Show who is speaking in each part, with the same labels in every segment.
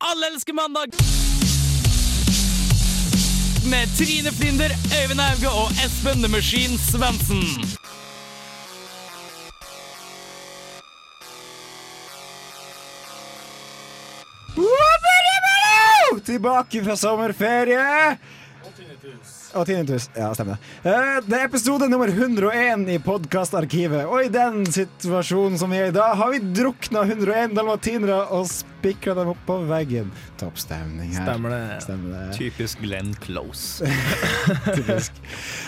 Speaker 1: Alle elsker mandag! Med Trine Flinder, Øyvind Auge og Espen The Machine Svendsen.
Speaker 2: Wabba-dabba-do! Tilbake fra sommerferie. Og tinnitus. Ja, stemmer det. Eh, Det er episode nummer 101 i podkastarkivet. Og i den situasjonen som vi er i da, har vi drukna 101 dalmatinere og spikra dem opp på veggen. Topp stemning her.
Speaker 3: Stemmer det.
Speaker 2: Stemmer det.
Speaker 1: Typisk Glenn Close.
Speaker 2: Typisk.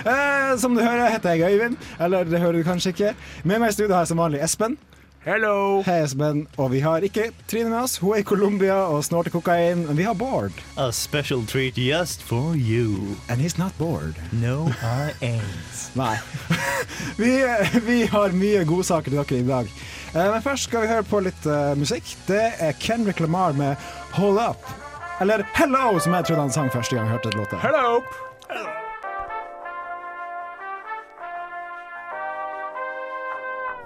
Speaker 2: Eh, som du hører, heter jeg Øyvind. Eller det hører du kanskje ikke. Med meg i studio har jeg som vanlig Espen.
Speaker 3: Hello!
Speaker 2: Hei, Espen. Og vi har ikke Trine med oss. Hun er i Colombia og snorter kokain. Men vi har Bård.
Speaker 1: A special treat just for you.
Speaker 2: And he's not bored.
Speaker 1: No, uh, I ain't.
Speaker 2: Nei. vi, vi har mye godsaker til dere i dag. Eh, Men først skal vi høre på litt eh, musikk. Det er Kendrick Lamar med 'Hold Up'. Eller 'Hello', som jeg trodde han sang første gang jeg hørte låta.
Speaker 3: Hello!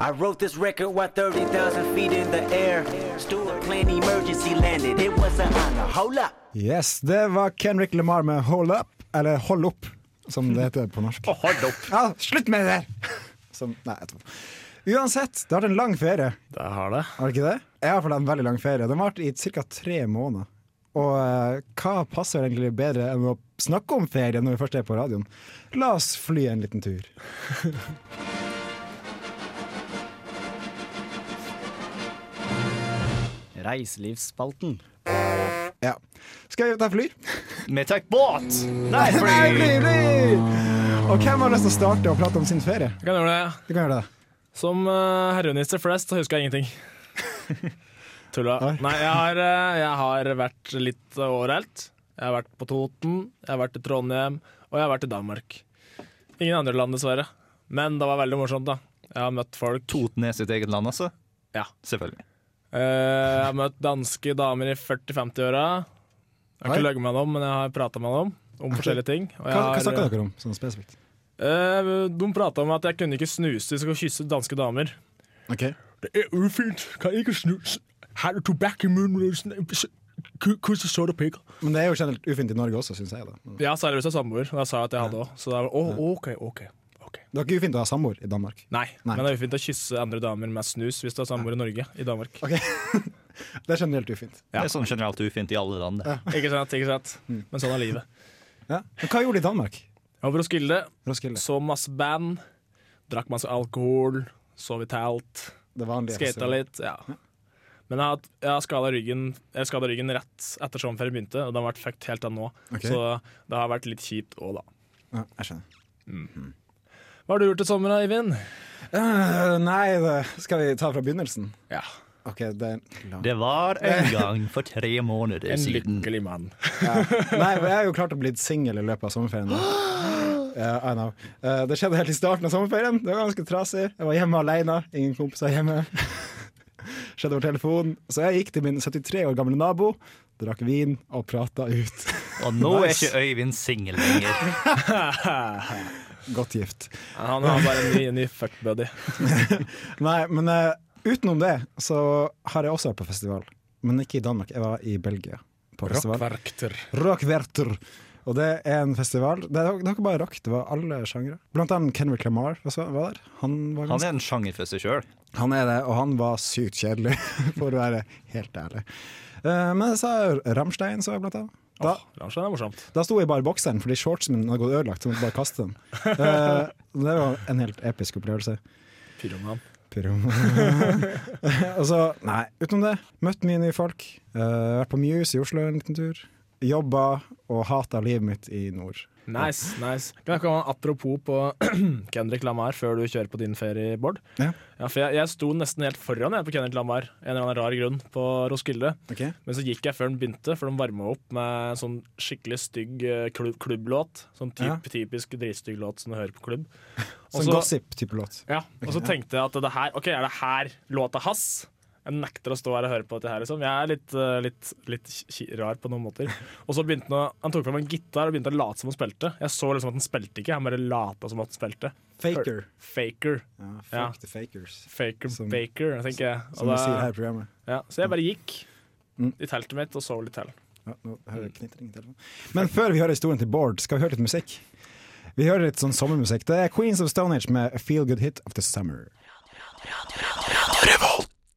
Speaker 4: I wrote this record while 30,000 feet in the air. Stuart plane emergency landed. It was an honor. Hold up.
Speaker 2: Yes, det var Kendrick Lamar med 'Hold Up'. Eller 'Hold Opp', som det heter på norsk.
Speaker 3: Hold opp.
Speaker 2: Ja, slutt med det der! Som, nei, jeg tror. Uansett, det har vært en lang ferie.
Speaker 3: Det har det.
Speaker 2: Har det ikke det? Jeg har fått en veldig lang ferie. Den varte i ca. tre måneder. Og eh, hva passer vel egentlig bedre enn å snakke om ferie når vi først er på radioen? La oss fly en liten tur.
Speaker 1: Reiselivsspalten.
Speaker 2: Ja. Skal vi ta fly?
Speaker 3: Vi tar båt! Nei,
Speaker 2: Nei, fly, fly! Og hvem har lyst til å starte å prate om sin ferie?
Speaker 5: Jeg kan gjøre det.
Speaker 2: Du kan gjøre det.
Speaker 5: Som uh, herrenisser flest så husker jeg ingenting. Tulla.
Speaker 2: Oi.
Speaker 5: Nei, jeg har, eh, jeg har vært litt overalt. Jeg har vært på Toten, jeg har vært i Trondheim, og jeg har vært i Danmark. Ingen andre land, dessverre. Men det var veldig morsomt, da. Jeg har møtt folk.
Speaker 1: Toten er sitt eget land, altså?
Speaker 5: Ja.
Speaker 1: Selvfølgelig.
Speaker 5: Eh, jeg har møtt danske damer i 40-50-åra. Jeg har
Speaker 2: Oi.
Speaker 5: ikke løyet med dem, men jeg har prata med dem om forskjellige ting. Og jeg
Speaker 2: Hva, hva
Speaker 5: har-
Speaker 2: snakker dere om sånn spesifikt?
Speaker 5: Eh, de prata om at jeg kunne ikke snuse, jeg skulle kysse danske damer.
Speaker 2: Ok.
Speaker 5: Det er ufint. Kan ikke snus. Har du tobakk i munnen? Kusse sorte pikker.
Speaker 2: Men det er jo generelt ufint i Norge også, syns jeg. da. Men
Speaker 5: Ja, særlig hvis jeg er samboer. Og jeg sa at jeg hadde òg. Så det er å, OK, OK. ok.
Speaker 2: Det er ikke ufint å ha samboer i Danmark.
Speaker 5: Nei,
Speaker 2: Nei.
Speaker 5: men det er ufint å kysse andre damer med snus hvis du er samboer i Norge. I Danmark.
Speaker 2: Ok. det er generelt ufint.
Speaker 1: Det er sånn generelt ufint i alle land. det.
Speaker 5: Ikke sant? ikke sant? Men sånn er livet.
Speaker 2: Ja. Men hva gjorde de i Danmark?
Speaker 5: Jeg var på Roskilde,
Speaker 2: Roskilde.
Speaker 5: så masse band, drakk masse alkohol, sov i telt,
Speaker 2: Det vanlige.
Speaker 5: skata litt. ja. Men jeg har, hatt- jeg har skada ryggen, jeg skadet ryggen rett etter sommerferien begynte, og den har vært fucked helt til nå.
Speaker 2: Ok.
Speaker 5: Så det har vært litt kjipt òg, da.
Speaker 2: Ja, jeg skjønner.
Speaker 5: Hva har du gjort i sommer, Eivind?
Speaker 2: Eh, nei, det skal vi ta fra begynnelsen?
Speaker 5: Ja,
Speaker 2: Ok, det er
Speaker 1: Det var en gang for tre måneder
Speaker 5: En
Speaker 1: siden.
Speaker 5: lykkelig mann.
Speaker 2: Nei, men jeg har jo klart å bli singel i løpet av sommerferien. Ja, I know. Eh, det skjedde helt i starten av sommerferien. Det var ganske trasig. Jeg var hjemme alene. Ingen kompiser hjemme. skjedde over telefon. Så jeg gikk til min 73 år gamle nabo, drakk vin og prata ut.
Speaker 1: Og nå er
Speaker 2: Nice.
Speaker 1: ikke Øyvind singel lenger.
Speaker 2: Godt gift.
Speaker 5: Han har bare en ny, ny fuckbuddy.
Speaker 2: Nei, men eh, utenom det så har jeg også vært på festival. Men ikke i Danmark. Jeg var i Belgia. På festival.
Speaker 5: Rockverkter.
Speaker 2: Rockverter. Og det er en festival. Det er, det er ikke bare rock, det var alle sjangre. Blant annet Kendrick Lamar også var der. Han, var
Speaker 1: Han
Speaker 2: ganske,
Speaker 1: er en sjanger for seg sjøl.
Speaker 2: han er det, og han var sykt kjedelig, for å være helt ærlig. Eh, men så er Rammstein så jeg blant annet. Da,
Speaker 5: Rammstein er morsomt.
Speaker 2: da sto jeg bare i bokseren fordi shortsen min hadde gått ødelagt, så jeg måtte bare kaste den. Eh, det var en helt episk opplevelse.
Speaker 5: Pyroman.
Speaker 2: Pyrom. og så, nei, utenom det, møtt mye nye folk. Eh, vært på Muse i Oslo en liten tur. Jobba og hata livet mitt i nord.
Speaker 5: Nice, nice. Kan jeg komme med en apropos på Kendrick Lamar før du kjører på din ferie, Bård?
Speaker 2: Ja.
Speaker 5: Ja, for jeg, jeg sto nesten helt foran jeg på Kendrick Lamar, en eller annen rar grunn, på Roskilde.
Speaker 2: Ok
Speaker 5: Men så gikk jeg før den begynte, for de varma opp med en sånn skikkelig stygg eh, klubb, klubblåt. Sånn typ,
Speaker 2: Ja.
Speaker 5: typisk dritstygg låt som du hører på klubb. Og
Speaker 2: Sånn
Speaker 5: så-
Speaker 2: gossip-type låt.
Speaker 5: Ja, og så tenkte jeg at det her, ok, er det her låta hans? Jeg nekter å stå her og høre på dette her, liksom. Jeg er litt, eh, litt, litt ki- rar på noen måter. Og så begynte han å, han tok frem en gitar og begynte å late som han spilte. Jeg så liksom at han spilte ikke, han bare lata som at han spilte.
Speaker 2: Faker.
Speaker 5: Faker.
Speaker 2: Ja, fuck
Speaker 5: Ja.
Speaker 2: the fakers,
Speaker 5: Faker
Speaker 2: Som-
Speaker 5: Baker, tenker jeg. Og
Speaker 2: som vi
Speaker 5: da-
Speaker 2: sier her i programmet.
Speaker 5: Mm. ja, så jeg bare gikk. i teltet mitt og sov litt til.
Speaker 2: Ja, nå hører jeg knitring i telefonen. Men før vi hører historien til Bård, skal vi høre litt musikk. Vi hører litt sånn sommermusikk. Det er Queens of Stonehenge med A Feel Good Hit of the Summer.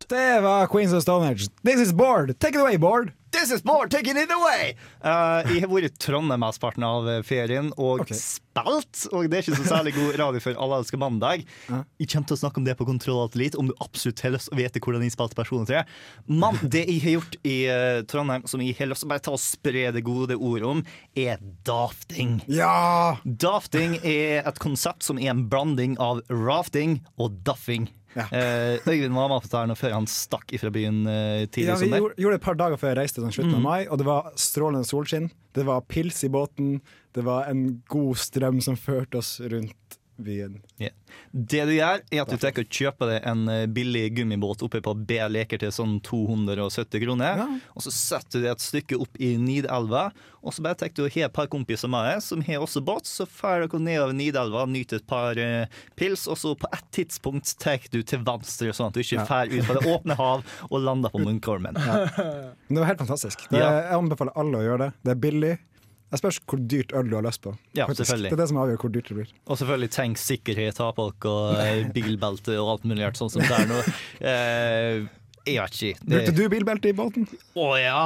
Speaker 2: Det var Queens of Stonehenge. This is Bård. Take it away, Bård.
Speaker 6: This is more taking it away! Eh, jeg har vært i Trondheim mesteparten av ferien og
Speaker 2: Ok.
Speaker 6: spilt, og det er ikke så særlig god radio for alle elsker mandag. Jeg kommer til å snakke om det på Kontroll alt elite, om du absolutt har lyst til å vite hvordan jeg spilte personer til. Men det jeg har gjort i eh, Trondheim, som jeg har lyst til å bare ta og spre det gode ord om, er dafting.
Speaker 2: Ja!
Speaker 6: Dafting er et konsept som er en blanding av rafting og daffing.
Speaker 2: Ja.
Speaker 6: Eh, Øyvind var med på dette her nå før han stakk ifra byen eh, tidlig
Speaker 2: Ja,
Speaker 6: i
Speaker 2: vi
Speaker 6: sommer.
Speaker 2: gjorde, gjorde det et par dager før jeg reiste, sånn slutten av mai, og det var strålende solskinn. Det var pils i båten, det var en god strøm som førte oss rundt byen.
Speaker 6: Ja. Det du gjør, er at du tenker å kjøpe deg en eh, billig gummibåt oppe på B leker til sånn 270 kroner.
Speaker 2: Ja.
Speaker 6: Og så setter du det et stykke opp i Nidelva, og så bare tar du og har et par kompiser med deg som har også båt. Så drar dere nedover Nidelva, nyter et par eh, pils, og så på et tidspunkt tar du til venstre, sånn at du ikke drar ut på det åpne hav og lander på Munkholmen.
Speaker 2: Men det var helt fantastisk. Det,
Speaker 6: Ja.
Speaker 2: Jeg anbefaler alle å gjøre det. Det er billig. Jeg spørs hvor dyrt øl du har lyst på.
Speaker 6: Ja,
Speaker 2: faktisk.
Speaker 6: selvfølgelig.
Speaker 2: Det er det som avgjør hvor dyrt det blir.
Speaker 6: Og selvfølgelig tenk sikkerhet, ha på dere eh, bilbelte og alt mulig rart, sånn som det er nå. Eh, jeg vet ikke. Det-
Speaker 2: Brukte du bilbelte i båten?
Speaker 6: Å ja,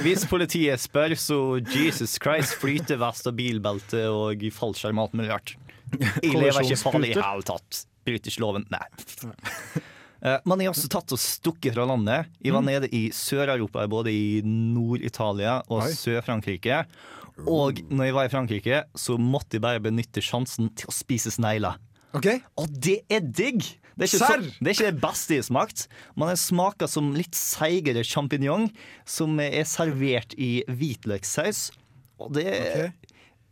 Speaker 6: hvis politiet spør, så Jesus Christ, flytevest og bilbelte og fallskjerm og alt mulig rart. Jeg lever ikke farlig i det hele tatt. Bryter ikke loven. Nei. Eh, Men jeg har også tatt og stukket fra landet. Jeg var nede i Sør-Europa, både i Nord-Italia og
Speaker 2: Oi.
Speaker 6: Sør-Frankrike. Og når jeg var i Frankrike, så måtte jeg bare benytte sjansen til å spise snegler.
Speaker 2: Ok,
Speaker 6: Og det er digg! Det er ikke, så,
Speaker 2: Serr?
Speaker 6: det, er ikke det beste jeg har smakt, men den smaker som litt seigere sjampinjong som er servert i hvitløkssaus. Og det
Speaker 2: Ok.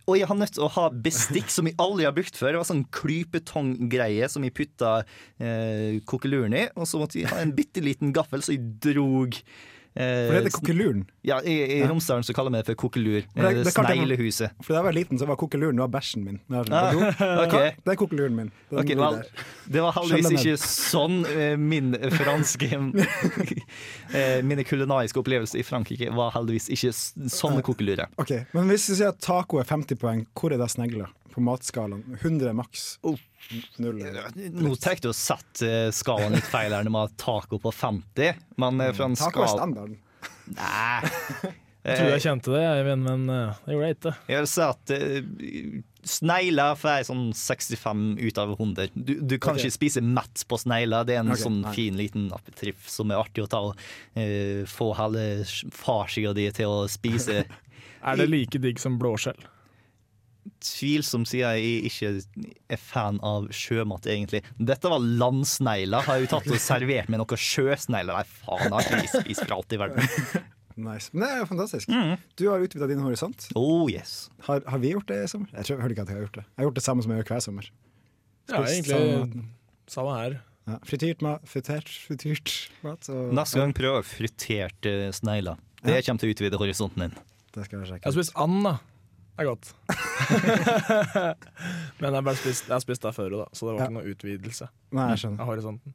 Speaker 6: Og jeg har nødt til å ha bestikk som jeg aldri har brukt før. Det var sånn klypetonggreie som jeg putta eh, kokkeluren i. Og så måtte jeg ha en bitte liten gaffel, så jeg drog eh,
Speaker 2: For det heter kokkeluren.
Speaker 6: ja, i, I Romsdalen så kaller vi det for kokkelur.
Speaker 2: det-
Speaker 6: eh,
Speaker 2: det kalte jeg-
Speaker 6: Sneglehuset.
Speaker 2: For da jeg var liten, så var kokkeluren det var bæsjen min. Det er, sånn,
Speaker 6: Ah, ok.
Speaker 2: det er kokkeluren min. Den
Speaker 6: Ok,
Speaker 2: ligger
Speaker 6: vel,
Speaker 2: der.
Speaker 6: det var heldigvis
Speaker 2: Skjønner meg.
Speaker 6: ikke sånn eh, min franske eh, Mine kulinariske opplevelser i Frankrike var heldigvis ikke s- sånne kokelurer.
Speaker 2: Ok, Men hvis du sier at taco er 50 poeng, hvor er det snegler? På matskalaen? 100 maks.
Speaker 6: Oh.
Speaker 2: Null.
Speaker 6: Nå tar du og setter eh, skalaen litt feil her når man har taco på 50, men eh, fra en
Speaker 2: Mm, Taco er
Speaker 6: skala
Speaker 2: standarden.
Speaker 6: Nei.
Speaker 5: Jeg tror
Speaker 6: Eh,
Speaker 5: jeg kjente det, jeg, men, men eh, det gjorde jeg ikke.
Speaker 6: Jeg vil si at eh, snegler får sånn 65 ut av 100. Du, du kan
Speaker 2: Ok.
Speaker 6: ikke spise mett på snegler. Det er en
Speaker 2: Ok,
Speaker 6: sånn
Speaker 2: nei.
Speaker 6: fin liten appetitt som er artig å ta og eh, få hele farssida di til å spise.
Speaker 5: Er det like digg som blåskjell?
Speaker 6: Tvilsomt sier jeg ikke er fan av sjømat, egentlig. Dette var landsnegler. Har jeg jo tatt og servert med noe sjøsnegler? Nei, faen, har ikke jeg spist fra alt i verden.
Speaker 2: Nice. Men det er jo fantastisk.
Speaker 6: Mm.
Speaker 2: Du har utvida din horisont.
Speaker 6: Oh yes.
Speaker 2: Har, har vi gjort det i sommer? Jeg tror, jeg hørte ikke at jeg har gjort det. Jeg har gjort det samme som jeg gjør hver sommer.
Speaker 5: Ja,
Speaker 2: Spist
Speaker 5: egentlig samme her.
Speaker 2: Ja. Frityrt mat, frityrt, frityrt mat. Og,
Speaker 6: Neste gang prøv friterte snegler. Det kommer til å utvide horisonten din.
Speaker 2: Det skal jeg
Speaker 5: Jeg har
Speaker 2: sjekke.
Speaker 5: spist and, da. Det er godt. men jeg har, bare spist, jeg har spist det før, da, så det var
Speaker 2: Ja. Mm.
Speaker 5: ikke noe utvidelse
Speaker 2: Nei, jeg skjønner.
Speaker 5: av horisonten.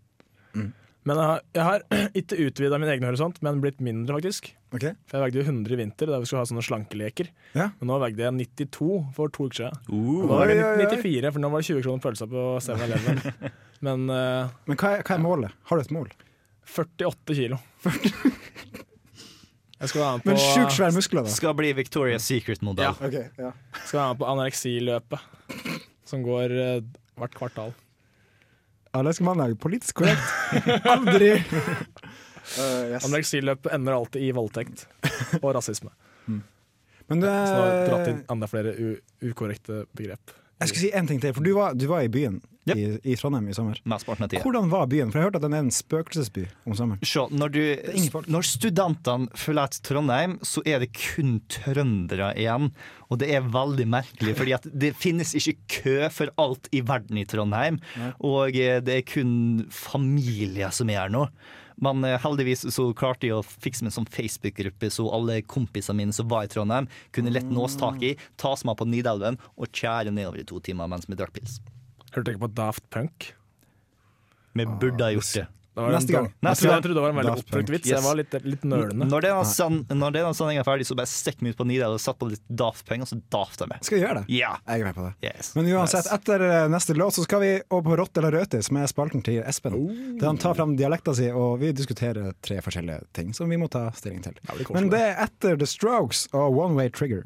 Speaker 5: Men jeg har, jeg har ikke utvida min egen horisont, men blitt mindre, faktisk.
Speaker 2: Ok,
Speaker 5: For jeg veide jo 100 i vinter, da vi skulle ha sånne slankeleker.
Speaker 2: Ja.
Speaker 5: Men nå veide jeg 92 for to uker siden.
Speaker 6: Uh.
Speaker 5: Og da var det
Speaker 2: Oi, oi, oi.
Speaker 5: 94, for nå var det 20 kroner pølsa på 7-Eleven. Men eh,
Speaker 2: Men hva er, hva er målet? Har du et mål?
Speaker 5: 48 kilo. Jeg skal være med på,
Speaker 2: Men sjukt svære muskler, da.
Speaker 6: Skal bli Victoria's Secret-modell.
Speaker 5: Ja.
Speaker 2: Ok, ja.
Speaker 5: skal være med på anoreksiløpet, som går eh, hvert kvartal.
Speaker 2: Allerske mandag, politisk korrekt. Aldri! Eh, yes.
Speaker 5: Anoreksiløpet ender alltid i voldtekt og rasisme.
Speaker 2: Men eh, du,
Speaker 5: Så nå har jeg dratt inn
Speaker 2: jeg
Speaker 5: enda flere u ukorrekte begrep.
Speaker 2: skal si en ting til, for du var, du var i byen
Speaker 6: Ja.
Speaker 2: i, i Trondheim i sommer.
Speaker 6: Mesteparten av tida.
Speaker 2: Hvordan var byen? For jeg hørte at den er en spøkelsesby om sommeren.
Speaker 6: Se, når,
Speaker 2: er ingen
Speaker 6: du,
Speaker 2: folk.
Speaker 6: når studentene forlater Trondheim, så er det kun trøndere igjen. Og det er veldig merkelig, fordi at det finnes ikke kø for alt i verden i Trondheim. Og eh, det er kun familier som er her nå. Men eh, heldigvis så klarte jeg å fikse meg en sånn Facebook-gruppe, så alle kompisene mine som var i Trondheim, kunne lett nås tak i, tas med på Nidelven og kjære nedover i to timer mens vi drakk pils.
Speaker 5: Hørte du ikke på Daft Punk?
Speaker 2: Ah,
Speaker 6: Vi burde ha gjort det.
Speaker 5: Det var en
Speaker 2: Neste
Speaker 5: dårlig-
Speaker 2: gang. Neste
Speaker 5: Jeg trodde,
Speaker 2: gang.
Speaker 5: jeg trodde det var en veldig
Speaker 2: Last point.
Speaker 5: opptrykt vits.
Speaker 6: Yes.
Speaker 5: Jeg var litt, litt nølende.
Speaker 6: Når denne san- når denne sendinga er ferdig, så bare stikk meg ut på Nidar og satt på litt daft penger, så daft jeg meg.
Speaker 2: Skal vi gjøre det?
Speaker 6: Ja.
Speaker 2: Jeg er med på det.
Speaker 6: Yes.
Speaker 2: Men uansett, etter eh, neste låt så skal vi over på Rotte eller Røti, som er spalten til Espen. Der han tar fram dialekta si, og vi diskuterer tre forskjellige ting som vi må ta stilling til.
Speaker 5: blir koselig.
Speaker 2: Men det er etter The Strokes og One Way Trigger.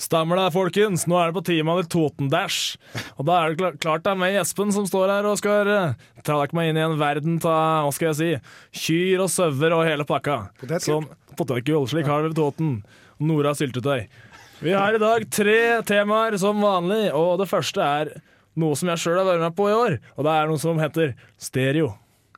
Speaker 5: Stemmer det, folkens. Nå er det på tide med litt Toten-dash. Og da er det kla- klart det er meg, Espen, som står her og skal eh, trekke meg inn i en verden av hva skal jeg si, kyr og sauer og hele pakka.
Speaker 2: Potetgull.
Speaker 5: Sånn, Potetgull. Slik har vi på Toten. Nora syltetøy. Vi har i dag tre temaer som vanlig, og det første er noe som jeg sjøl har vært med på i år. Og det er noe som heter stereo.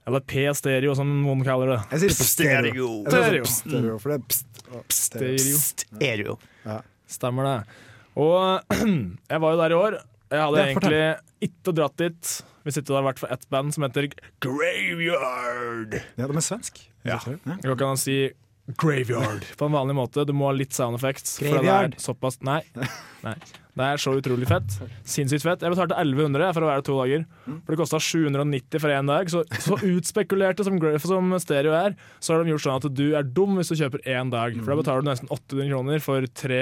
Speaker 5: Eller P-stereo, som noen kaller det.
Speaker 2: Jeg sier det på stereo.
Speaker 6: Stereo.
Speaker 2: Jeg sier det
Speaker 5: Stereo.
Speaker 2: på stereo, for det er pst. og stereo.
Speaker 5: Stereo.
Speaker 6: Stereo.
Speaker 5: Stemmer det. Og jeg var jo der i år. Jeg hadde
Speaker 2: Ja, fortell.
Speaker 5: egentlig ikke dratt dit hvis ikke det hadde vært for ett band som heter Graveyard.
Speaker 2: Ja, de er svensk.
Speaker 5: Ja. Da kan han si graveyard på en vanlig måte. Du må ha litt sound effects. for
Speaker 2: Graveyard.
Speaker 5: Det er såpass Nei. Nei. Det er så utrolig fett. Sinnssykt fett. Jeg betalte 1100 for å være to dager.
Speaker 2: Mm.
Speaker 5: For det kosta 790 for én dag. Så, så utspekulerte som, gra- som stereo er, så har de gjort sånn at du er dum hvis du kjøper én dag. For da
Speaker 2: Mm.
Speaker 5: betaler du nesten 800 kroner for tre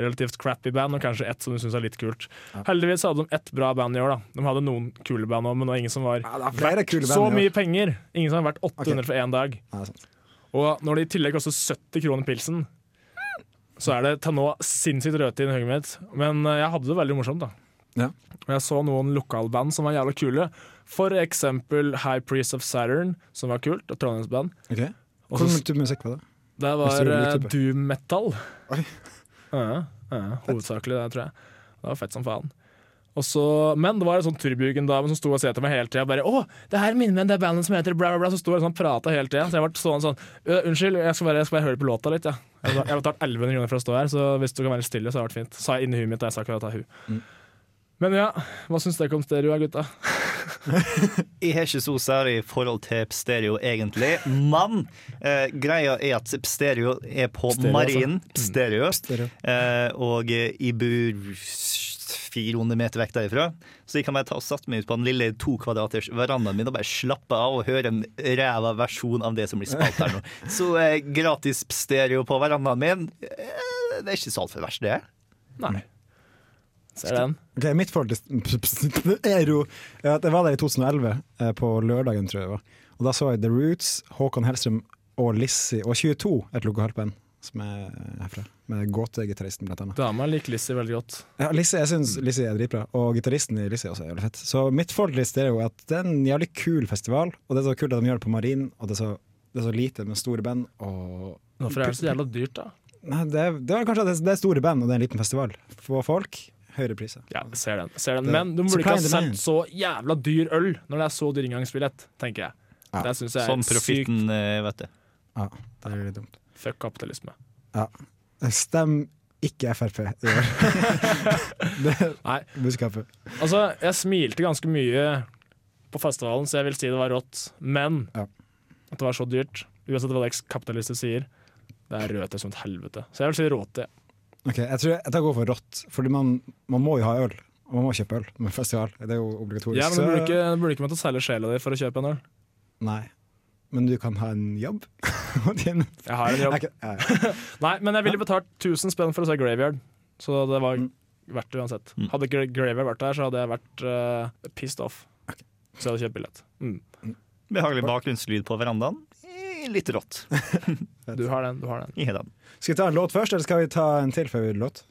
Speaker 5: relativt crappy band, og kanskje ett som du syns er litt kult. Heldigvis hadde de ett bra band i år, da. De hadde noen kule band òg, men det var ingen som var
Speaker 2: Ja, det er flere kule
Speaker 5: så
Speaker 2: band. i år.
Speaker 5: mye penger. Ingen som har vært 800 for én dag.
Speaker 2: Ja, det er sant.
Speaker 5: Og når det i tillegg koster 70 kroner pilsen, så er det ta nå sinnssykt rødt i høyet mitt. Men eh, jeg hadde det veldig morsomt, da.
Speaker 2: Ja.
Speaker 5: Og jeg så noen lokalband som var jævla kule. For eksempel High Priest of Saturn, som var kult, og Trondheimsband.
Speaker 2: Ok.
Speaker 5: Og
Speaker 2: Hvilken
Speaker 5: så-
Speaker 2: type musikk var det?
Speaker 5: Det
Speaker 2: Hvis du
Speaker 5: var eh,
Speaker 2: vil tippe.
Speaker 5: doom metal.
Speaker 2: Oi.
Speaker 5: Ja, ja, hovedsakelig det, tror jeg. Det var fett som faen. Og så, men det var en sånn turbugen-dame som sto og så etter meg hele tida. Bare 'Å, det her minner meg om det bandet som heter bla, bla, bla.' Så sto jeg sånn og prata hele tida. Så jeg ble sånn sånn «Ø, 'Unnskyld, jeg skal bare, jeg skal bare høre på låta litt', ja. jeg. Jeg har betalt 1100 kroner for å stå her, så hvis du kan være litt stille, så har det vært fint. Sa jeg inni huet mitt da jeg sa ikke at det er hu. Men ja, hva syns dere om stereo, ja, gutta?
Speaker 6: Jeg har ikke så særlig forhold til Pstereo, egentlig. Men eh, greia er at Pstereo er på
Speaker 5: Pstereo, altså. Mm.
Speaker 6: Marin. Pstereo.
Speaker 2: Stereo.
Speaker 6: Eh, og eh, jeg bor 400 meter vekk derifra. Så jeg kan bare ta og satt meg ut på den lille to kvadraters verandaen min og bare slappe av og høre en ræva versjon av det som blir spalt her nå. Så eh, gratis Pstereo på verandaen min, eh, det er ikke så altfor verst, det.
Speaker 5: Nei. Ser den.
Speaker 2: Ok, mitt forhold til Ero er at jeg var der i 2011, eh, på lørdagen, tror jeg det var. Og da så jeg The Roots, Håkon Hellstrøm og Lissi, og 22, et lokalt band som er herfra. Med gåtegitaristen, blant annet.
Speaker 5: Dama liker Lizzie veldig godt.
Speaker 2: Ja, Lissi, jeg syns Lissi er dritbra, og gitaristen i Lissi er også jævlig fett. Så mitt forhold til Stereo er at det er en jævlig kul festival, og det er så kult at de gjør det på Marin, og det er så, det er så lite med store band, og
Speaker 5: Hvorfor er det så jævla dyrt, da?
Speaker 2: Nei, det, er- det er kanskje at det er- det er store band, og det er en liten festival. Få folk, høyere priser.
Speaker 5: Ja, ser den. Ser
Speaker 2: Mm.
Speaker 5: den.
Speaker 2: Det-
Speaker 5: Men du burde
Speaker 2: Supply
Speaker 5: ikke ha
Speaker 2: and demand.
Speaker 5: solgt så jævla dyr øl når det er så dyr inngangsbillett, tenker jeg. Det syns jeg er
Speaker 6: Sånn
Speaker 5: sykt
Speaker 6: profitten, eh, vet du.
Speaker 2: Ja, det er litt dumt.
Speaker 5: fuck kapitalisme.
Speaker 2: Stem ikke Frp i år. det
Speaker 5: Nei.
Speaker 2: budskapet.
Speaker 5: Altså, jeg smilte ganske mye på festivalen, så jeg vil si det var rått. Men
Speaker 2: Ja.
Speaker 5: at det var så dyrt, uansett hva det kapitalister sier, det er rødt som et helvete. Så jeg vil si råte.
Speaker 2: Ok, Jeg tror jeg, jeg tar gå for rått, Fordi man, man må jo ha øl. Og man må kjøpe øl med festival. Det er jo obligatorisk.
Speaker 5: Ja, men du burde
Speaker 2: Så-
Speaker 5: ikke, du burde ikke måtte selge sjela di for å kjøpe en øl.
Speaker 2: Nei. Men du kan ha en jobb. og tjene-
Speaker 5: Jeg har en
Speaker 2: Jeg
Speaker 5: jobb.
Speaker 2: kan- jeg-
Speaker 5: Nei, men jeg ville betalt 1000 spenn for å se Graveyard, så det var
Speaker 2: Mm.
Speaker 5: verdt det uansett.
Speaker 6: Mm.
Speaker 5: Hadde Gra- Graveyard vært der, så hadde jeg vært eh, pissed off. Så jeg hadde kjøpt billett. Mm.
Speaker 6: Behagelig bakgrunnslyd på verandaen. Eh, Litt rått.
Speaker 5: Du har den, du har den.
Speaker 6: I den.
Speaker 2: Skal vi ta en låt først, eller skal vi ta en til før vi låt?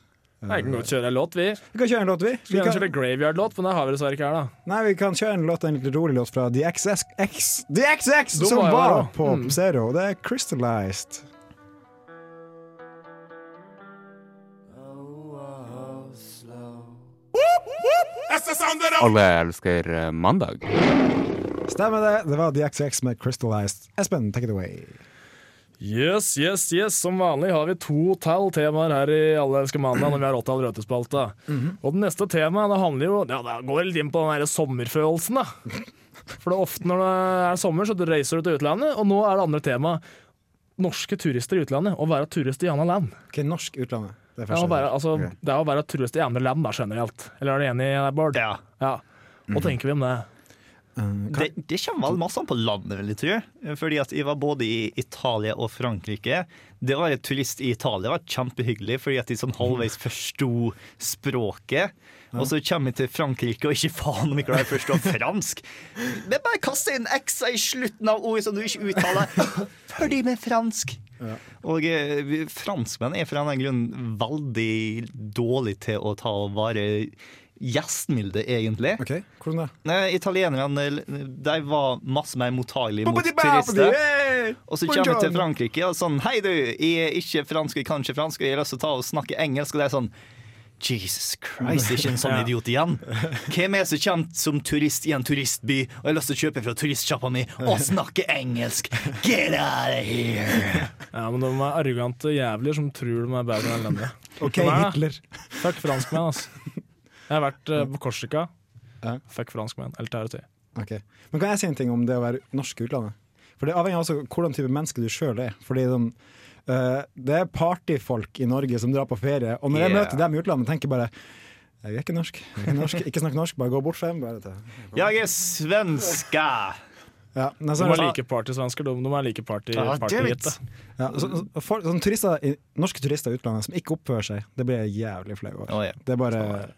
Speaker 5: Nei, vi kan godt kjøre en låt, vi.
Speaker 2: Vi kan kjøre en låt, vi.
Speaker 5: Vi
Speaker 2: vi
Speaker 5: kan
Speaker 2: kan,
Speaker 5: kjøre Graveyard-låt, men det har vi dessverre ikke her, da.
Speaker 2: nei, vi kan kjøre en låt, en litt rolig låt fra The XX, X, The XX
Speaker 5: Da
Speaker 2: som
Speaker 5: var jeg
Speaker 2: var
Speaker 5: der, da.
Speaker 2: på
Speaker 5: Mm.
Speaker 2: Zero. Det er Crystallized.
Speaker 7: Alle elsker eh, mandag.
Speaker 2: Stemmer det. Det var The XX med Crystallized. Espen, take it away.
Speaker 5: Yes, yes, yes. Som vanlig har vi to tall temaer her i Alle elsker mandag når vi har åttall røtespalta.
Speaker 2: Mhm.
Speaker 5: Og det neste temaet det handler jo Ja, det går litt inn på den der sommerfølelsen, da. For det er ofte når det er sommer, så reiser du til utlandet. Og nå er det andre temaet. Norske turister i utlandet. Å være turist i annet land.
Speaker 2: Ok, norsk utlandet. Det er
Speaker 5: Ja, å
Speaker 2: første.
Speaker 5: være, altså,
Speaker 2: Ok.
Speaker 5: Det er å være turist i andre land, da, generelt. Eller er du enig, eh, Bård?
Speaker 6: Ja.
Speaker 5: Ja.
Speaker 2: Mhm.
Speaker 5: Hva tenker vi om det?
Speaker 6: Det, det kommer vel masse an på landet, vil jeg tro. Fordi at jeg var både i Italia og Frankrike. Det å være turist i Italia var kjempehyggelig, fordi at de sånn halvveis forsto språket. Og så kommer jeg til Frankrike, og ikke faen om jeg klarer å forstå fransk! Men bare kaste inn x-a i slutten av ord som du ikke uttaler. Fordi med fransk! Og eh, vi- franskmenn er for en eller annen grunn veldig dårlig til å ta og være gjestmilde, egentlig.
Speaker 2: Ok, hvordan da?
Speaker 6: Nei, italienerne de var masse mer mottagelige mot turister.
Speaker 2: Turister.
Speaker 6: Og så kommer vi til Frankrike og sånn Hei, du, jeg er ikke fransk, jeg kan ikke fransk, og jeg har lyst til å ta og snakke engelsk. Og det er sånn Jesus Christ, ikke en sånn idiot igjen. Hvem er det som kommer som turist i en turistby og har lyst til å kjøpe fra turistsjappa mi og snakke engelsk? Get out of here!
Speaker 5: Ja, men De er arrogante jævler som tror de er bedre enn landet.
Speaker 2: Ok,
Speaker 5: Nei.
Speaker 2: Hitler.
Speaker 5: Fuck franskmenn, altså. Jeg har vært eh, på Korsika.
Speaker 2: Ja.
Speaker 5: Fuck franskmenn. Eller TRT.
Speaker 2: Ok. Men kan jeg si en ting om det å være norsk i utlandet? For det avhenger også av hvordan type menneske du sjøl er. Fordi de, eh, Det er partyfolk i Norge som drar på ferie, og når jeg
Speaker 6: Yeah.
Speaker 2: møter dem i utlandet, tenker jeg bare jeg er ikke norsk. Jeg er ikke, norsk. ikke snakk norsk, bare gå bort fra dem. Bare til.
Speaker 6: Jeg er svenska!
Speaker 2: Ja, men
Speaker 5: De
Speaker 2: så- sånn,
Speaker 5: er like partysvensker, de. De er like party,
Speaker 6: Ja, damn it.
Speaker 5: partygitte.
Speaker 2: Ja, så, så, for, sånn turister, i- norske turister i utlandet som ikke oppfører seg, det blir jeg jævlig flau over.
Speaker 6: Å, ja.
Speaker 2: Det er bare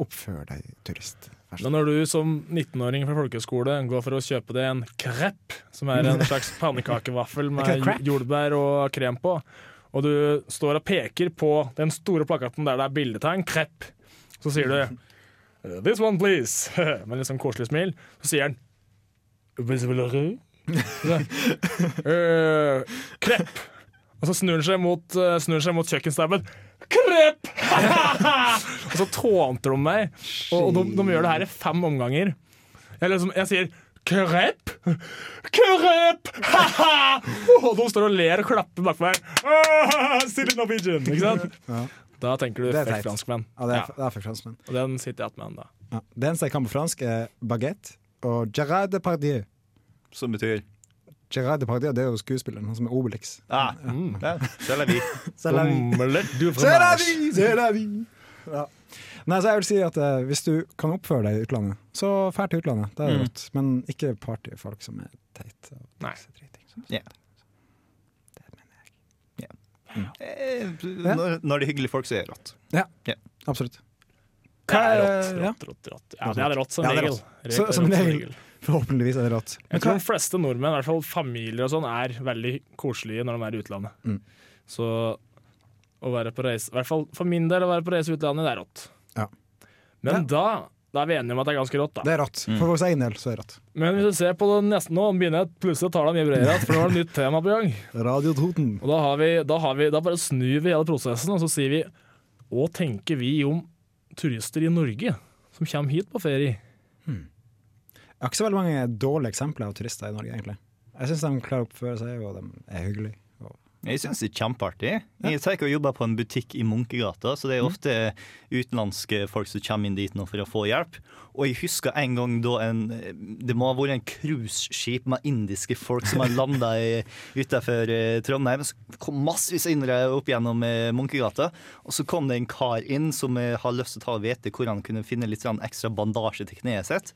Speaker 2: Oppfør deg, turist. Vær så
Speaker 5: Men når du som 19-åring fra folkehøyskole går for å kjøpe deg en crepe, som er en slags pannekakevaffel med
Speaker 2: Crepe?
Speaker 5: jordbær og krem på, og du står og peker på den store plakaten der det er bilde av en crepe, så sier du This one, please. Med litt sånn koselig smil. Så sier han «Hvis vil du?» Så, «Eh, Crepe. Og så snur han seg mot, eh, snur han seg mot kjøkkenstaben. Krepp! og så tånter de meg. Og, og de, de gjør det her i fem omganger. Jeg, liksom, jeg sier krepp, krepp, ha-ha! Og de står og ler og klapper bak meg. Ah, Silly Norwegian, ikke sant? Da tenker du
Speaker 2: Det er
Speaker 5: fuck
Speaker 2: teit.
Speaker 5: franskmenn.
Speaker 2: Ja, det er,
Speaker 5: Ja,
Speaker 2: det er for franskmenn.
Speaker 5: og den sitter jeg igjen med ennå.
Speaker 2: Ja. Det eneste jeg kan på fransk, er baguette og Gerard Depardieu.
Speaker 6: Som betyr
Speaker 2: Gerard Depardieu det er jo skuespilleren, han som er Obelix.
Speaker 6: ah, ja, så er det vi.
Speaker 2: C'est la vie.
Speaker 5: Omelett du
Speaker 2: C'est la
Speaker 5: fromage.
Speaker 2: vie, c'est la vie. Ja. Nei, så jeg vil si at eh, Hvis du kan oppføre deg i utlandet, så dra til utlandet. Det er
Speaker 6: Mm.
Speaker 2: godt. Men ikke partyfolk som er teite. og
Speaker 5: Nei.
Speaker 2: driting.
Speaker 6: Eh, Når, når det er hyggelige folk, så er det rått.
Speaker 2: Absolutt.
Speaker 5: Det er rått,
Speaker 2: Hva-
Speaker 5: rått, rått, rått. Ja, det er rått som
Speaker 2: Ja, det er
Speaker 5: regel.
Speaker 2: rått. Så- som
Speaker 5: Rått
Speaker 2: regel. Forhåpentligvis er det rått. Men
Speaker 5: Jeg tror
Speaker 2: hva-
Speaker 5: de fleste nordmenn, i hvert fall familier og sånn, er veldig koselige når de er i utlandet.
Speaker 2: Mm.
Speaker 5: Så å være på reise, i hvert fall for min del, å være på reise i utlandet, det er rått.
Speaker 2: Ja.
Speaker 5: Men
Speaker 2: Ja.
Speaker 5: da, da er vi enige om at det er ganske rått, da.
Speaker 2: Det er rått. For vår egen del så er det rått.
Speaker 5: Men hvis du ser på det nesten nå, begynner jeg plutselig å ta det mye bredere, igjen, for nå er det nytt tema på gang.
Speaker 2: Radio Toten.
Speaker 5: Og da, har vi, da, har vi, da bare snur vi hele prosessen, og så sier vi hva tenker vi om turister i Norge som kommer hit på ferie?
Speaker 2: Jeg har ikke så veldig mange dårlige eksempler av turister i Norge, egentlig. Jeg syns de klarer å oppføre seg, og de er hyggelige. Og
Speaker 6: Jeg syns det er kjempeartig. Jeg tar ikke og jobber på en butikk i Munkegata, så det er ofte utenlandske folk som kommer inn dit nå for å få hjelp. Og jeg husker en gang da en Det må ha vært en cruiseskip med indiske folk som har landa utafor eh, Trondheim. Så kom massevis av indere opp gjennom eh, Munkegata, og så kom det en kar inn som eh, har lyst til å ta og vite hvor han kunne finne litt sånn ekstra bandasje til kneet sitt.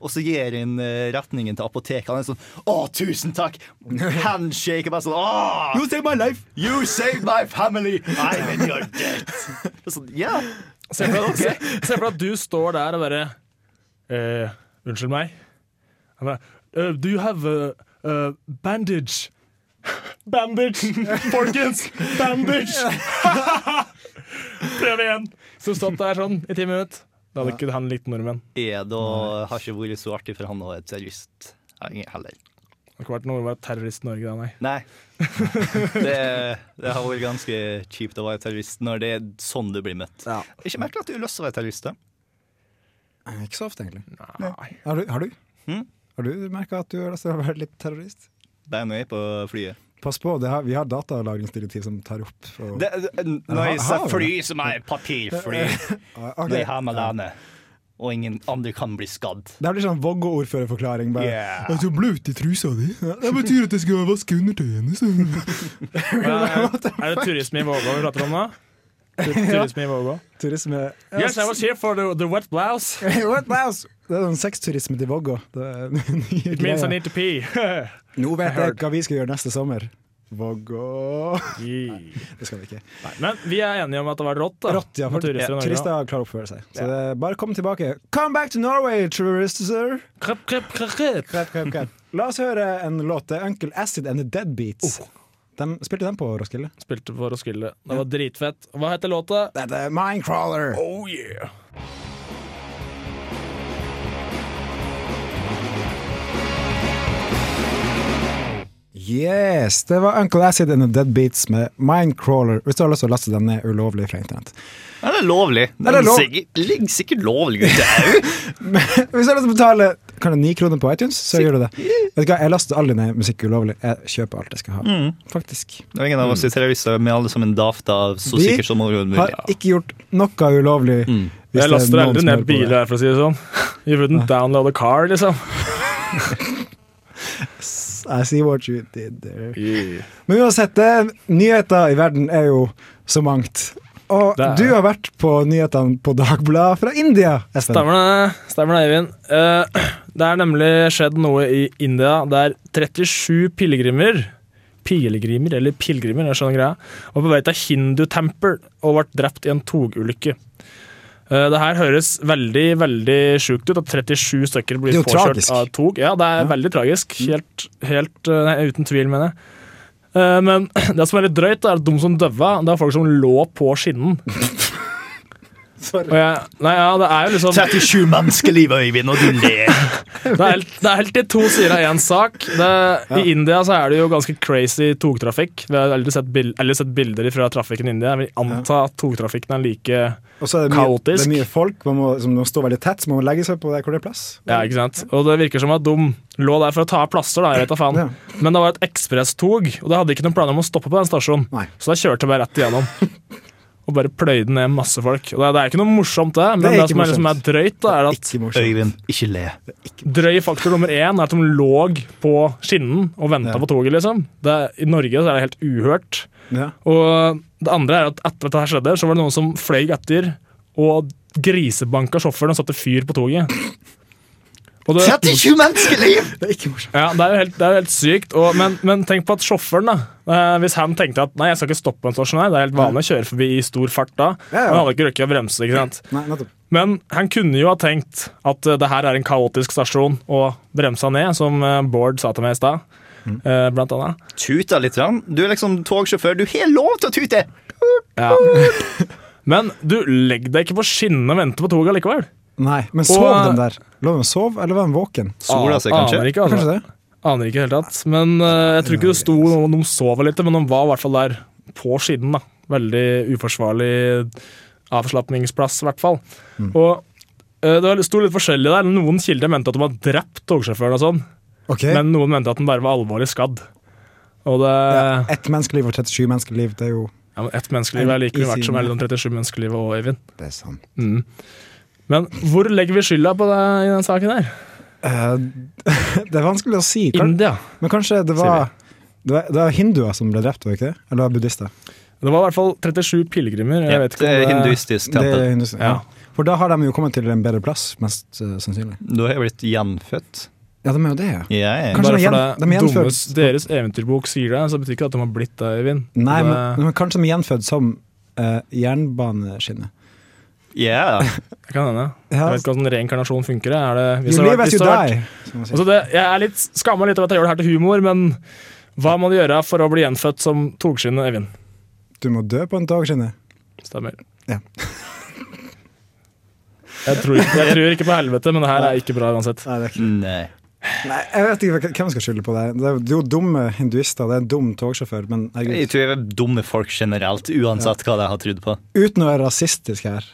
Speaker 6: Og så gir han eh, retningen til apoteket. Han er sånn Å, tusen takk! Handshake. Og bare sånn Åh!
Speaker 2: You saved my life!
Speaker 6: You saved my family, I'm in your debt. Sånn, ja.
Speaker 5: Se for, deg, se, se for deg at du står der og bare eh, Unnskyld meg. Han bare, eh, do you have a, a bandage? Bandage, folkens! Bandage! Prøv igjen. Så stått der sånn i ti minutter. Da hadde ikke han likt nordmenn.
Speaker 6: Ja, da har ikke vært så artig for han å være terrorist heller.
Speaker 5: Det hadde ikke vært noe å være terrorist i Norge, da, nei.
Speaker 6: Nei. Det, det har vært ganske kjipt å være terrorist når det er sånn du blir møtt.
Speaker 2: Ja.
Speaker 6: Ikke merkelig at du har lyst til å være terrorist. da.
Speaker 2: Ikke så ofte, egentlig.
Speaker 5: nei.
Speaker 2: Har du, har du?
Speaker 6: Hm?
Speaker 2: Har du merka at du har lyst til å være litt terrorist?
Speaker 6: Det er når jeg er på flyet.
Speaker 2: Pass på, det har, vi har datalagringsdirektiv som tar opp og,
Speaker 6: Det, det, når
Speaker 2: har
Speaker 6: jeg sa
Speaker 2: vi
Speaker 6: fly som er papirfly
Speaker 2: Ah,
Speaker 6: når
Speaker 2: ok.
Speaker 6: jeg har med landet, og ingen andre kan bli skadd
Speaker 2: Det her blir sånn Vågå-ordførerforklaring. Bare
Speaker 6: Yeah.
Speaker 2: «Jeg er så blaut i trusa di. Det betyr at jeg skal vaske undertøyet hennes.
Speaker 5: Er det turisme i Vågå vi prater om nå? Tur- Turisme i Vågå.
Speaker 2: Turisme
Speaker 5: Yes, I was here for the, the wet blouse.
Speaker 2: What mouse? Det er sånn sexturisme til Vågå. Det er nye
Speaker 5: It means I
Speaker 2: greier.
Speaker 5: need to pee.
Speaker 2: Nå vet jeg hva vi skal gjøre neste sommer. Vågå Det skal vi ikke.
Speaker 5: Nei, men vi er enige om at det var rått. da
Speaker 2: Rått, ja.
Speaker 5: Med
Speaker 2: For
Speaker 5: turister i Norge. da.
Speaker 2: turister klarer å oppføre seg. Så det, er bare kom tilbake. Come back to Norway, tourister!
Speaker 5: Krepp, krepp, krepp, krepp.
Speaker 2: Krepp, krepp, krepp. La oss høre en låt. Det er Uncle Acid and the Deadbeats.
Speaker 5: Oh.
Speaker 2: De, spilte den på Roskilde?
Speaker 5: Spilte på Roskilde. Det var dritfett. Hva heter låta?
Speaker 2: Dette er Mindcrawler.
Speaker 5: Oh yeah.
Speaker 2: Yes, det var Uncle Acid and the Dead Beats med Mindcrawler. Hvis du har lyst til å laste den ned ulovlig fra internett.
Speaker 6: Ja, det er lovlig. Det
Speaker 2: Er det lov?
Speaker 6: ligger sikkert lovlig ute.
Speaker 2: Hvis du har lyst til å betale kan det ni kroner på iTunes, så gjør du det. Vet du hva, Jeg laster aldri ned musikk ulovlig. Jeg kjøper alt jeg skal ha. Faktisk.
Speaker 6: Det var ingen av oss i terrorister med alle som en daft av så
Speaker 2: Vi
Speaker 6: sikkert som overhodet mulig.
Speaker 2: Har ikke gjort noe ulovlig. hvis
Speaker 5: Mm. Jeg
Speaker 2: det er
Speaker 5: laster
Speaker 2: noen
Speaker 5: aldri
Speaker 2: som
Speaker 5: ned
Speaker 2: hører på
Speaker 5: biler, for å si det sånn. You wouldn't download a car, liksom.
Speaker 2: det. I see what you did there. Men uansett, det, nyheter i verden er jo så mangt. Og
Speaker 5: Det er-
Speaker 2: du har vært på nyhetene på Dagbladet fra India, Espen.
Speaker 5: Stemmer det, stemmer det, Eivind. Eh, det er nemlig skjedd noe i India der 37 pilegrimer Pilegrimer, eller pilegrimer, jeg skjønner greia. Var på vei til hindutempel og ble drept i en togulykke. Eh, det her høres veldig veldig sjukt ut, at 37 stykker blir
Speaker 2: Det er jo
Speaker 5: påkjørt
Speaker 2: tragisk. Mm.
Speaker 5: av tog. Ja, det er veldig tragisk. Helt, helt eh, nei, uten tvil, mener jeg. Eh, men det som er litt drøyt, er at de som døva, det er folk som lå på skinnen. Og jeg, nei, ja, det er jo liksom
Speaker 6: 37 menneskeliv, Øyvind, og du ler.
Speaker 5: Det er, helt- det er helt i to sider av én sak. Det, I India så er det jo ganske crazy togtrafikk. Vi har aldri sett, bil, eller sett bilder fra trafikken i India. Jeg vil anta at togtrafikken er like
Speaker 2: Og så er det mye,
Speaker 5: Kaotisk.
Speaker 2: Det er mye folk, man må, som de står veldig tett, så man må legge seg på der hvor det er plass.
Speaker 5: Ja, ikke sant? Og det virker som at de lå der for å ta av plasser, da, jeg vet da faen.
Speaker 2: Ja.
Speaker 5: Men det var et ekspresstog, og det hadde ikke noen planer om å stoppe på den stasjonen.
Speaker 2: Nei.
Speaker 5: Så da kjørte jeg bare rett igjennom. Og bare pløyde ned masse folk. Og det, det er ikke noe morsomt, det, men
Speaker 2: Det er
Speaker 5: det,
Speaker 2: ikke
Speaker 5: som, er, liksom er
Speaker 2: morsomt.
Speaker 5: drøyt, da, er at
Speaker 2: Ikke morsomt.
Speaker 6: Øyvind, ikke le.
Speaker 5: drøy faktor nummer én er at de lå på skinnen og venta på toget, liksom. Det, I Norge så er det helt uhørt.
Speaker 2: Ja.
Speaker 5: Og det andre er at etter at dette skjedde, så var det noen som fløy etter og grisebanka sjåføren og satte fyr på toget. Og det,
Speaker 6: 37 menneskeliv!
Speaker 2: Det er ikke morsomt.
Speaker 5: ja, det er jo helt, det er jo helt sykt. Og, men, men tenk på at sjåføren, da. Eh, hvis han tenkte at nei, jeg skal ikke stoppe på en stasjon her, det er helt vanlig å kjøre forbi i stor fart da.
Speaker 2: Ja, ja.
Speaker 5: Han hadde ikke rukket å bremse, ikke sant.
Speaker 2: Nei, nettopp.
Speaker 5: Men han kunne jo ha tenkt at eh, det her er en kaotisk stasjon, og bremsa ned, som eh, Bård sa til meg i stad, eh, blant annet.
Speaker 6: Tuta litt. grann. Du er liksom togsjåfør. Du har lov til å tute!
Speaker 5: Men du, legg deg ikke på skinnene og vente på toget likevel.
Speaker 2: Nei, men sov
Speaker 5: Og-
Speaker 2: den der? Lå den og sov, eller var den våken?
Speaker 6: Sola seg, kanskje.
Speaker 5: Aner ikke, altså.
Speaker 2: Kanskje det?
Speaker 5: Aner ikke i det hele tatt. Men eh, jeg tror ikke det sto noe om de sov litt, men de var i hvert fall der på skinnen. da. Veldig uforsvarlig avslapningsplass, i hvert fall. Og eh, det sto litt forskjellig der. Noen kilder mente at de hadde drept togsjåføren og sånn,
Speaker 2: Ok,
Speaker 5: men noen mente at den bare var alvorlig skadd. Og det
Speaker 2: Ett menneskeliv og 37 menneskeliv, det er jo
Speaker 5: ja, men Ett menneskeliv er like mye verdt som
Speaker 2: Easy.
Speaker 5: hele de 37 menneskelivene og Eivind.
Speaker 2: Det er sant.
Speaker 5: Men hvor legger vi skylda på det i den saken her?
Speaker 2: Eh, det er vanskelig å si. Kan,
Speaker 5: India.
Speaker 2: men kanskje det var, det var Det var hinduer som ble drept, var det ikke det? Eller var det buddhister?
Speaker 5: Det var i hvert fall 37 pilegrimer. Jeg vet ikke
Speaker 6: det
Speaker 5: om
Speaker 6: er
Speaker 5: det-
Speaker 6: hinduistisk
Speaker 2: Det er
Speaker 6: tempel.
Speaker 2: hinduister, ja.
Speaker 5: Ja.
Speaker 2: For da har de jo kommet til en bedre plass, mest eh, sannsynlig.
Speaker 6: Du har jeg blitt gjenfødt.
Speaker 2: Ja, de er jo det, ja.
Speaker 6: Jeg er
Speaker 2: Kanskje
Speaker 5: Bare
Speaker 2: de
Speaker 5: for
Speaker 2: gjen-
Speaker 5: det
Speaker 2: de er gjenfødt.
Speaker 5: dummes, deres eventyrbok sier det, så betyr ikke det at de har blitt det, Eivind.
Speaker 2: Nei,
Speaker 5: det,
Speaker 2: men, men kanskje de er gjenfødt som eh, jernbaneskinnet.
Speaker 6: yeah.
Speaker 5: det kan hende.
Speaker 2: Ja.
Speaker 5: Jeg vet ikke hvordan reinkarnasjon funker. jeg. Er det,
Speaker 2: You
Speaker 5: det har vært-
Speaker 2: live as
Speaker 5: hvis
Speaker 2: you
Speaker 5: det har vært-
Speaker 2: die. som man sier.
Speaker 5: Altså det, jeg er litt skamma litt over at jeg gjør det her til humor, men hva må du gjøre for å bli gjenfødt som togskinne, Eivind?
Speaker 2: Du må dø på en togskinne.
Speaker 5: Stemmer.
Speaker 2: Ja.
Speaker 5: Jeg tror, ikke, jeg tror ikke på helvete, men det her er ikke bra uansett.
Speaker 2: Nei, det er ikke.
Speaker 6: Nei.
Speaker 2: Nei, jeg vet ikke hva- hvem skal skylde på det. Det er jo dumme hinduister, det er en dum togsjåfør. Men
Speaker 6: Jeg
Speaker 2: herregud,
Speaker 6: tror jeg er dumme folk generelt, uansett hva de har trodd på.
Speaker 2: uten å være rasistisk her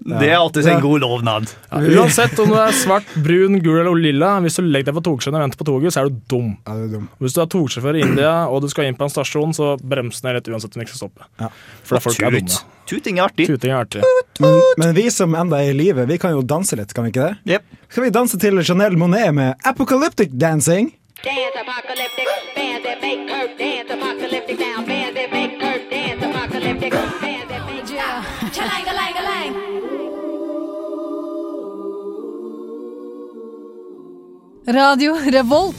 Speaker 6: Det er alltid en god lovnad.
Speaker 5: Uansett om du er svart, brun, gul eller lilla, hvis du legger deg på togskinnet og venter på toget, så er du dum.
Speaker 2: Ja, det er dum.
Speaker 5: Hvis du er togsjåfør i India og du skal inn på en stasjon, så bremser den rett uansett om den ikke skal stoppe.
Speaker 2: Ja.
Speaker 5: For da folk er dumme.
Speaker 6: Tuting er artig.
Speaker 5: Tuting er artig.
Speaker 2: Men, men vi som enda er i live, vi kan jo danse litt, kan vi ikke det?
Speaker 6: Jep.
Speaker 2: Skal vi danse til Chanel Monet med 'Apocalyptic Dancing'?
Speaker 8: Dance apocalyptic, bands that make her dance apocalyptic now, bands that make her dance apocalyptic, bands that make yeah. Chalang, chalang, chalang.
Speaker 9: Radio Revolt.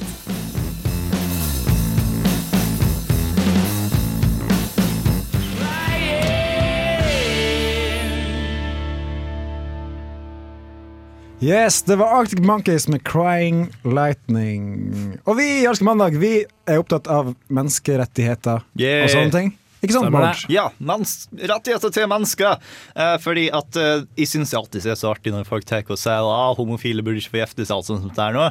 Speaker 2: Yes, det var Arctic Monkeys med 'Crying Lightning'. Og vi i Arctic Mandag vi er opptatt av menneskerettigheter
Speaker 6: Yeah.
Speaker 2: og sånne ting. Ikke sant,
Speaker 5: Stemmer
Speaker 2: Bård?
Speaker 5: det.
Speaker 6: Ja, mans, rettigheter til mennesker. Eh, fordi at eh, jeg syns alltid det er så artig når folk tar og sier at ah, homofile burde ikke få gifte seg. alt sånt som det er nå.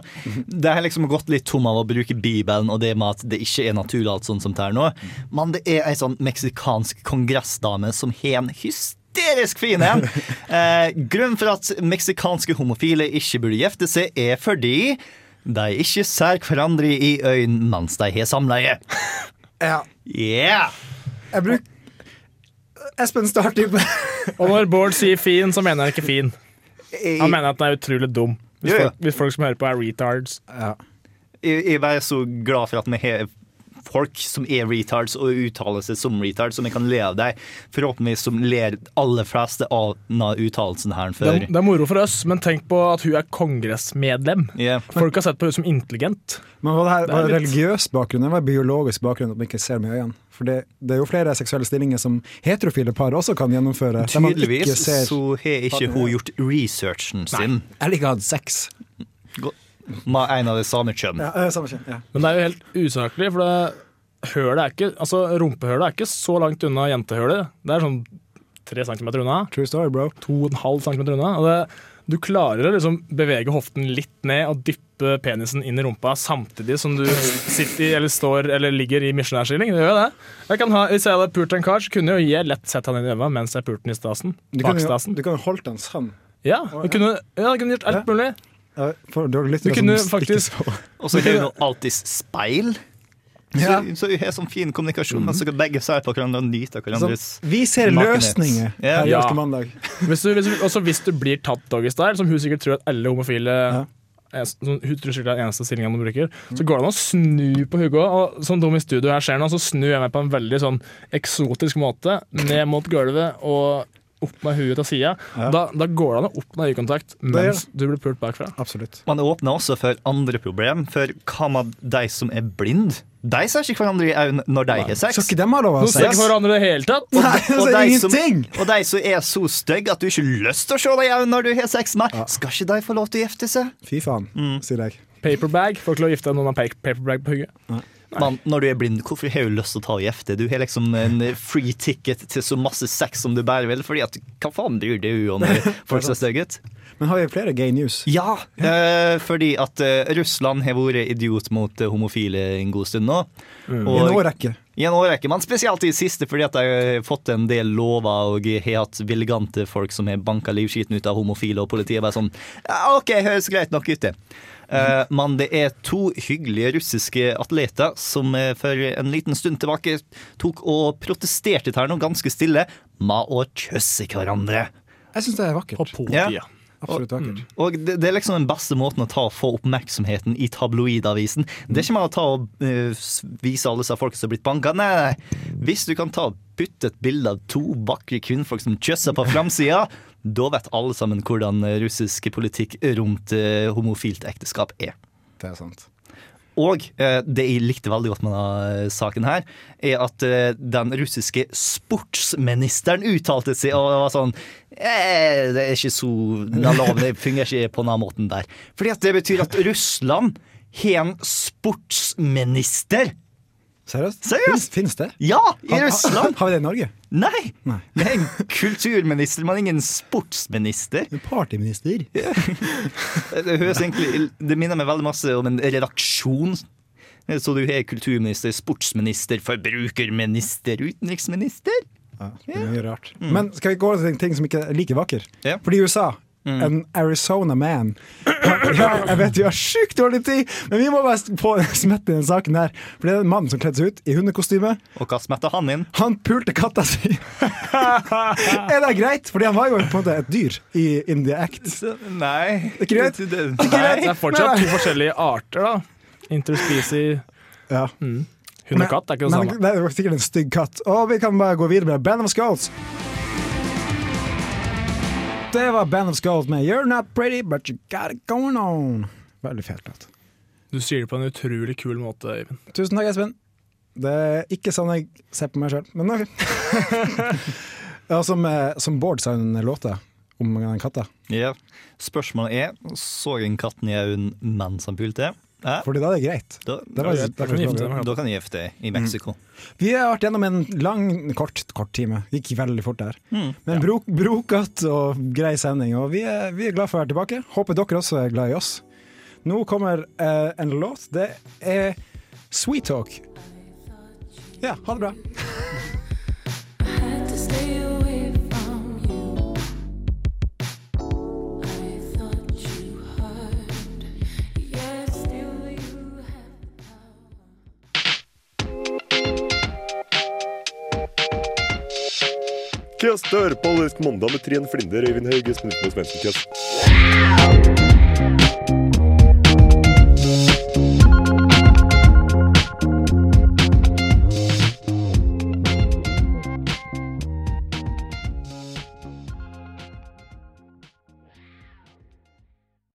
Speaker 6: Det har liksom gått litt tom av å bruke Bibelen og det med at det ikke er naturlig. alt sånt som det er nå. Men det er ei sånn meksikansk kongressdame som har en hysterisk fin en. Eh, grunnen for at meksikanske homofile ikke burde gifte seg, er fordi de ikke ser hverandre i øynene mens de har samleie.
Speaker 2: Ja.
Speaker 6: Yeah!
Speaker 2: Jeg bruk... Espen starter jo på-
Speaker 5: Og når Bård sier fin, så mener han ikke fin. Han mener at den er utrolig dum. Hvis,
Speaker 6: Ja, ja.
Speaker 5: folk, hvis folk som hører på, er retards.
Speaker 6: jeg, jeg er så glad for at vi har folk som er retards og uttaler seg som retards, som jeg kan le av deg. Forhåpentligvis som ler aller fleste av denne uttalelsen her
Speaker 5: Det,
Speaker 6: før.
Speaker 5: er- det er moro for oss, men tenk på at hun er kongressmedlem.
Speaker 6: Ja.
Speaker 5: Folk har sett på henne som intelligent.
Speaker 2: Men var det her
Speaker 5: Det er
Speaker 2: var det
Speaker 5: litt-
Speaker 2: religiøs bakgrunn? Det var biologisk bakgrunn at man ikke ser med øynene. For det, det er jo flere seksuelle stillinger som heterofile par også kan gjennomføre. der man ikke
Speaker 6: Tydeligvis
Speaker 2: ser-
Speaker 6: så har ikke hun gjort researchen sin
Speaker 2: Jeg liker å ha sex.
Speaker 6: med en av det samme kjønn.
Speaker 2: Ja, eh, samme kjønn. Ja.
Speaker 5: Men det er jo helt usaklig, for det hølet er ikke Altså, rumpehølet er ikke så langt unna jentehølet. Det er sånn tre centimeter unna.
Speaker 2: True story, bro.
Speaker 5: To og en halv centimeter unna. Og det, du klarer å liksom bevege hoften litt ned og dyppe penisen inn i rumpa samtidig som du sitter i, eller står eller ligger i misjonærstilling. Det gjør jo det. Jeg kan ha, hvis jeg hadde pult en kar, så kunne jo jeg lett sett han inn i øynene mens jeg pulte den i stasen.
Speaker 2: Du kan
Speaker 5: Bak
Speaker 2: jo
Speaker 5: stasen.
Speaker 2: du kan jo holdt den sånn.
Speaker 5: Ja, du kunne, ja, sånn du kunne gjort alt mulig.
Speaker 2: Ja, For dere
Speaker 5: Du
Speaker 2: lytter
Speaker 5: kunne faktisk
Speaker 6: Og så har hun alltid speil. Så,
Speaker 2: Ja. Mhm.
Speaker 6: så hun har sånn fin kommunikasjon, men så kan begge se på hverandre og nyte av hverandres
Speaker 2: Vi ser
Speaker 6: Nakenhet.
Speaker 2: løsninger
Speaker 6: Ja.
Speaker 2: her i
Speaker 5: Ja.
Speaker 2: Elsker mandag.
Speaker 5: Hvis du, hvis du, også hvis du blir tatt doggystyle, som hun sikkert tror at alle homofile er- som Hun tror sikkert det er den eneste stillingen man bruker. Så går det an å snu på Hugo. Og som dum i studio her ser nå, så snur jeg meg på en veldig sånn eksotisk måte. Ned mot gulvet og opp med huet til sida. Da, da går det an å oppnå øyekontakt mens du blir pult bakfra.
Speaker 2: Absolutt.
Speaker 6: Man åpner også for andre problem, for hva med de som er blind? De ser ikke hverandre i øynene når de har
Speaker 2: Skal
Speaker 6: sex.
Speaker 2: ikke dem ha lov å
Speaker 5: Nå
Speaker 2: ha
Speaker 5: ser ikke
Speaker 2: sex?
Speaker 5: hverandre i det hele tatt.
Speaker 2: Nei, altså,
Speaker 6: Og de som,
Speaker 2: ingenting!
Speaker 6: og de som er så stygge at du ikke har lyst til å se dem i øynene når du har sex med, skal ikke de få lov til å gifte seg?
Speaker 2: Fy faen,
Speaker 5: Mm.
Speaker 2: sier jeg.
Speaker 5: Paperbag. Folk lov å gifte seg når man har paperbag på hugget.
Speaker 6: Men når du er blind, hvorfor har du lyst til å ta og gifte? Du har liksom en free ticket til så masse sex som du bare vil, fordi at hva faen bryr du deg om folk som er stygge? ut?
Speaker 2: Men har vi flere gay news?
Speaker 6: Ja, eh, fordi at eh, Russland har vært idiot mot eh, homofile en god stund nå.
Speaker 2: Mm. I en årrekke.
Speaker 6: I en årrekke, men spesielt i det siste fordi at jeg har fått en del lover og jeg har hatt villigante folk som har banka livskiten ut av homofile, og politiet bare sånn «Ja, OK, høres greit nok ut, det. Eh, men det er to hyggelige russiske atleter som eh, for en liten stund tilbake tok og protesterte til her nå, ganske stille, med å kysse hverandre.
Speaker 2: Jeg syns det er vakkert.
Speaker 6: Ja.
Speaker 2: Absolutt vakkert.
Speaker 6: Og det, det er liksom den beste måten å ta og få oppmerksomheten i tabloidavisen. Det er ikke med å ta og eh, s- vise alle disse folkene som har blitt banka. Nei, nei. Hvis du kan ta og putte et bilde av to vakre kvinnfolk som kjøsser på framsida, da vet alle sammen hvordan eh, russisk politikk rundt eh, homofilt ekteskap er.
Speaker 2: Det er sant.
Speaker 6: Og eh, det jeg likte veldig godt med denne eh, saken her, er at eh, den russiske sportsministeren uttalte seg og var sånn eh, Det er ikke så La lov, det fungerer ikke på den måten der. Fordi at det betyr at Russland har en sportsminister!
Speaker 2: Seriøst?
Speaker 6: Seriøst?
Speaker 2: Fins det?
Speaker 6: Ja, i
Speaker 2: Har-
Speaker 6: Russland!
Speaker 2: Har vi det i Norge?
Speaker 6: Nei!
Speaker 2: Nei.
Speaker 6: Det er en kulturminister, men ingen sportsminister.
Speaker 2: Partyminister.
Speaker 6: Det, høres egentlig, det minner meg veldig masse om en redaksjon. Så du har kulturminister, sportsminister, forbrukerminister, utenriksminister?
Speaker 2: Ja, det blir mye rart. Men skal vi gå til en ting som ikke er like vakker?
Speaker 6: Ja.
Speaker 2: Fordi USA En Arizona man. Ja, jeg vet vi har sjukt dårlig tid, men vi må bare få smette den saken her. For det er en mann som kledde seg ut i hundekostyme.
Speaker 6: Og hva smetter han inn?
Speaker 2: Han pulte katta si! er det greit? Fordi han var jo på en måte et dyr i In the Act.
Speaker 6: Nei.
Speaker 2: Ikke greit?
Speaker 6: Det- det-
Speaker 2: greit?
Speaker 5: Det er fortsatt to forskjellige arter, da. Interspecie
Speaker 2: Ja.
Speaker 5: hund og katt er ikke det
Speaker 2: Men
Speaker 5: samme.
Speaker 2: det var sikkert en stygg katt. Og vi kan bare gå videre med Band of Skulls. Det var Band of Skulls med You're Not Pretty, But You Got It Going On. Veldig fet låt.
Speaker 5: Du sier det på en utrolig kul måte, Øyvind.
Speaker 2: Tusen takk, Espen. Det er ikke sånn jeg ser på meg sjøl, men OK. ja, som, eh, som Bård sa en låta om den katta.
Speaker 6: Ja. Spørsmålet er så en katten i øynene mens han pulte. Ja,
Speaker 2: Fordi da er det greit.
Speaker 6: da,
Speaker 2: Det var,
Speaker 5: greit. Da
Speaker 2: det
Speaker 5: kan vi
Speaker 2: var-
Speaker 5: gifte dem.
Speaker 6: da kan jeg gifte deg i Mexico.
Speaker 2: Vi har vært gjennom en lang, kort, kort time. Gikk veldig fort der. Men bro, brokatt og grei sending. Og vi er, vi er glad for å være tilbake. Håper dere også er glad i oss. Nå kommer eh, en låt. Det er Sweet Talk. Ja, ha det bra.
Speaker 10: Kast hører på Løst mandag med Trine Flinder, Øyvind Hauge, Snutten og Svendsen Kast.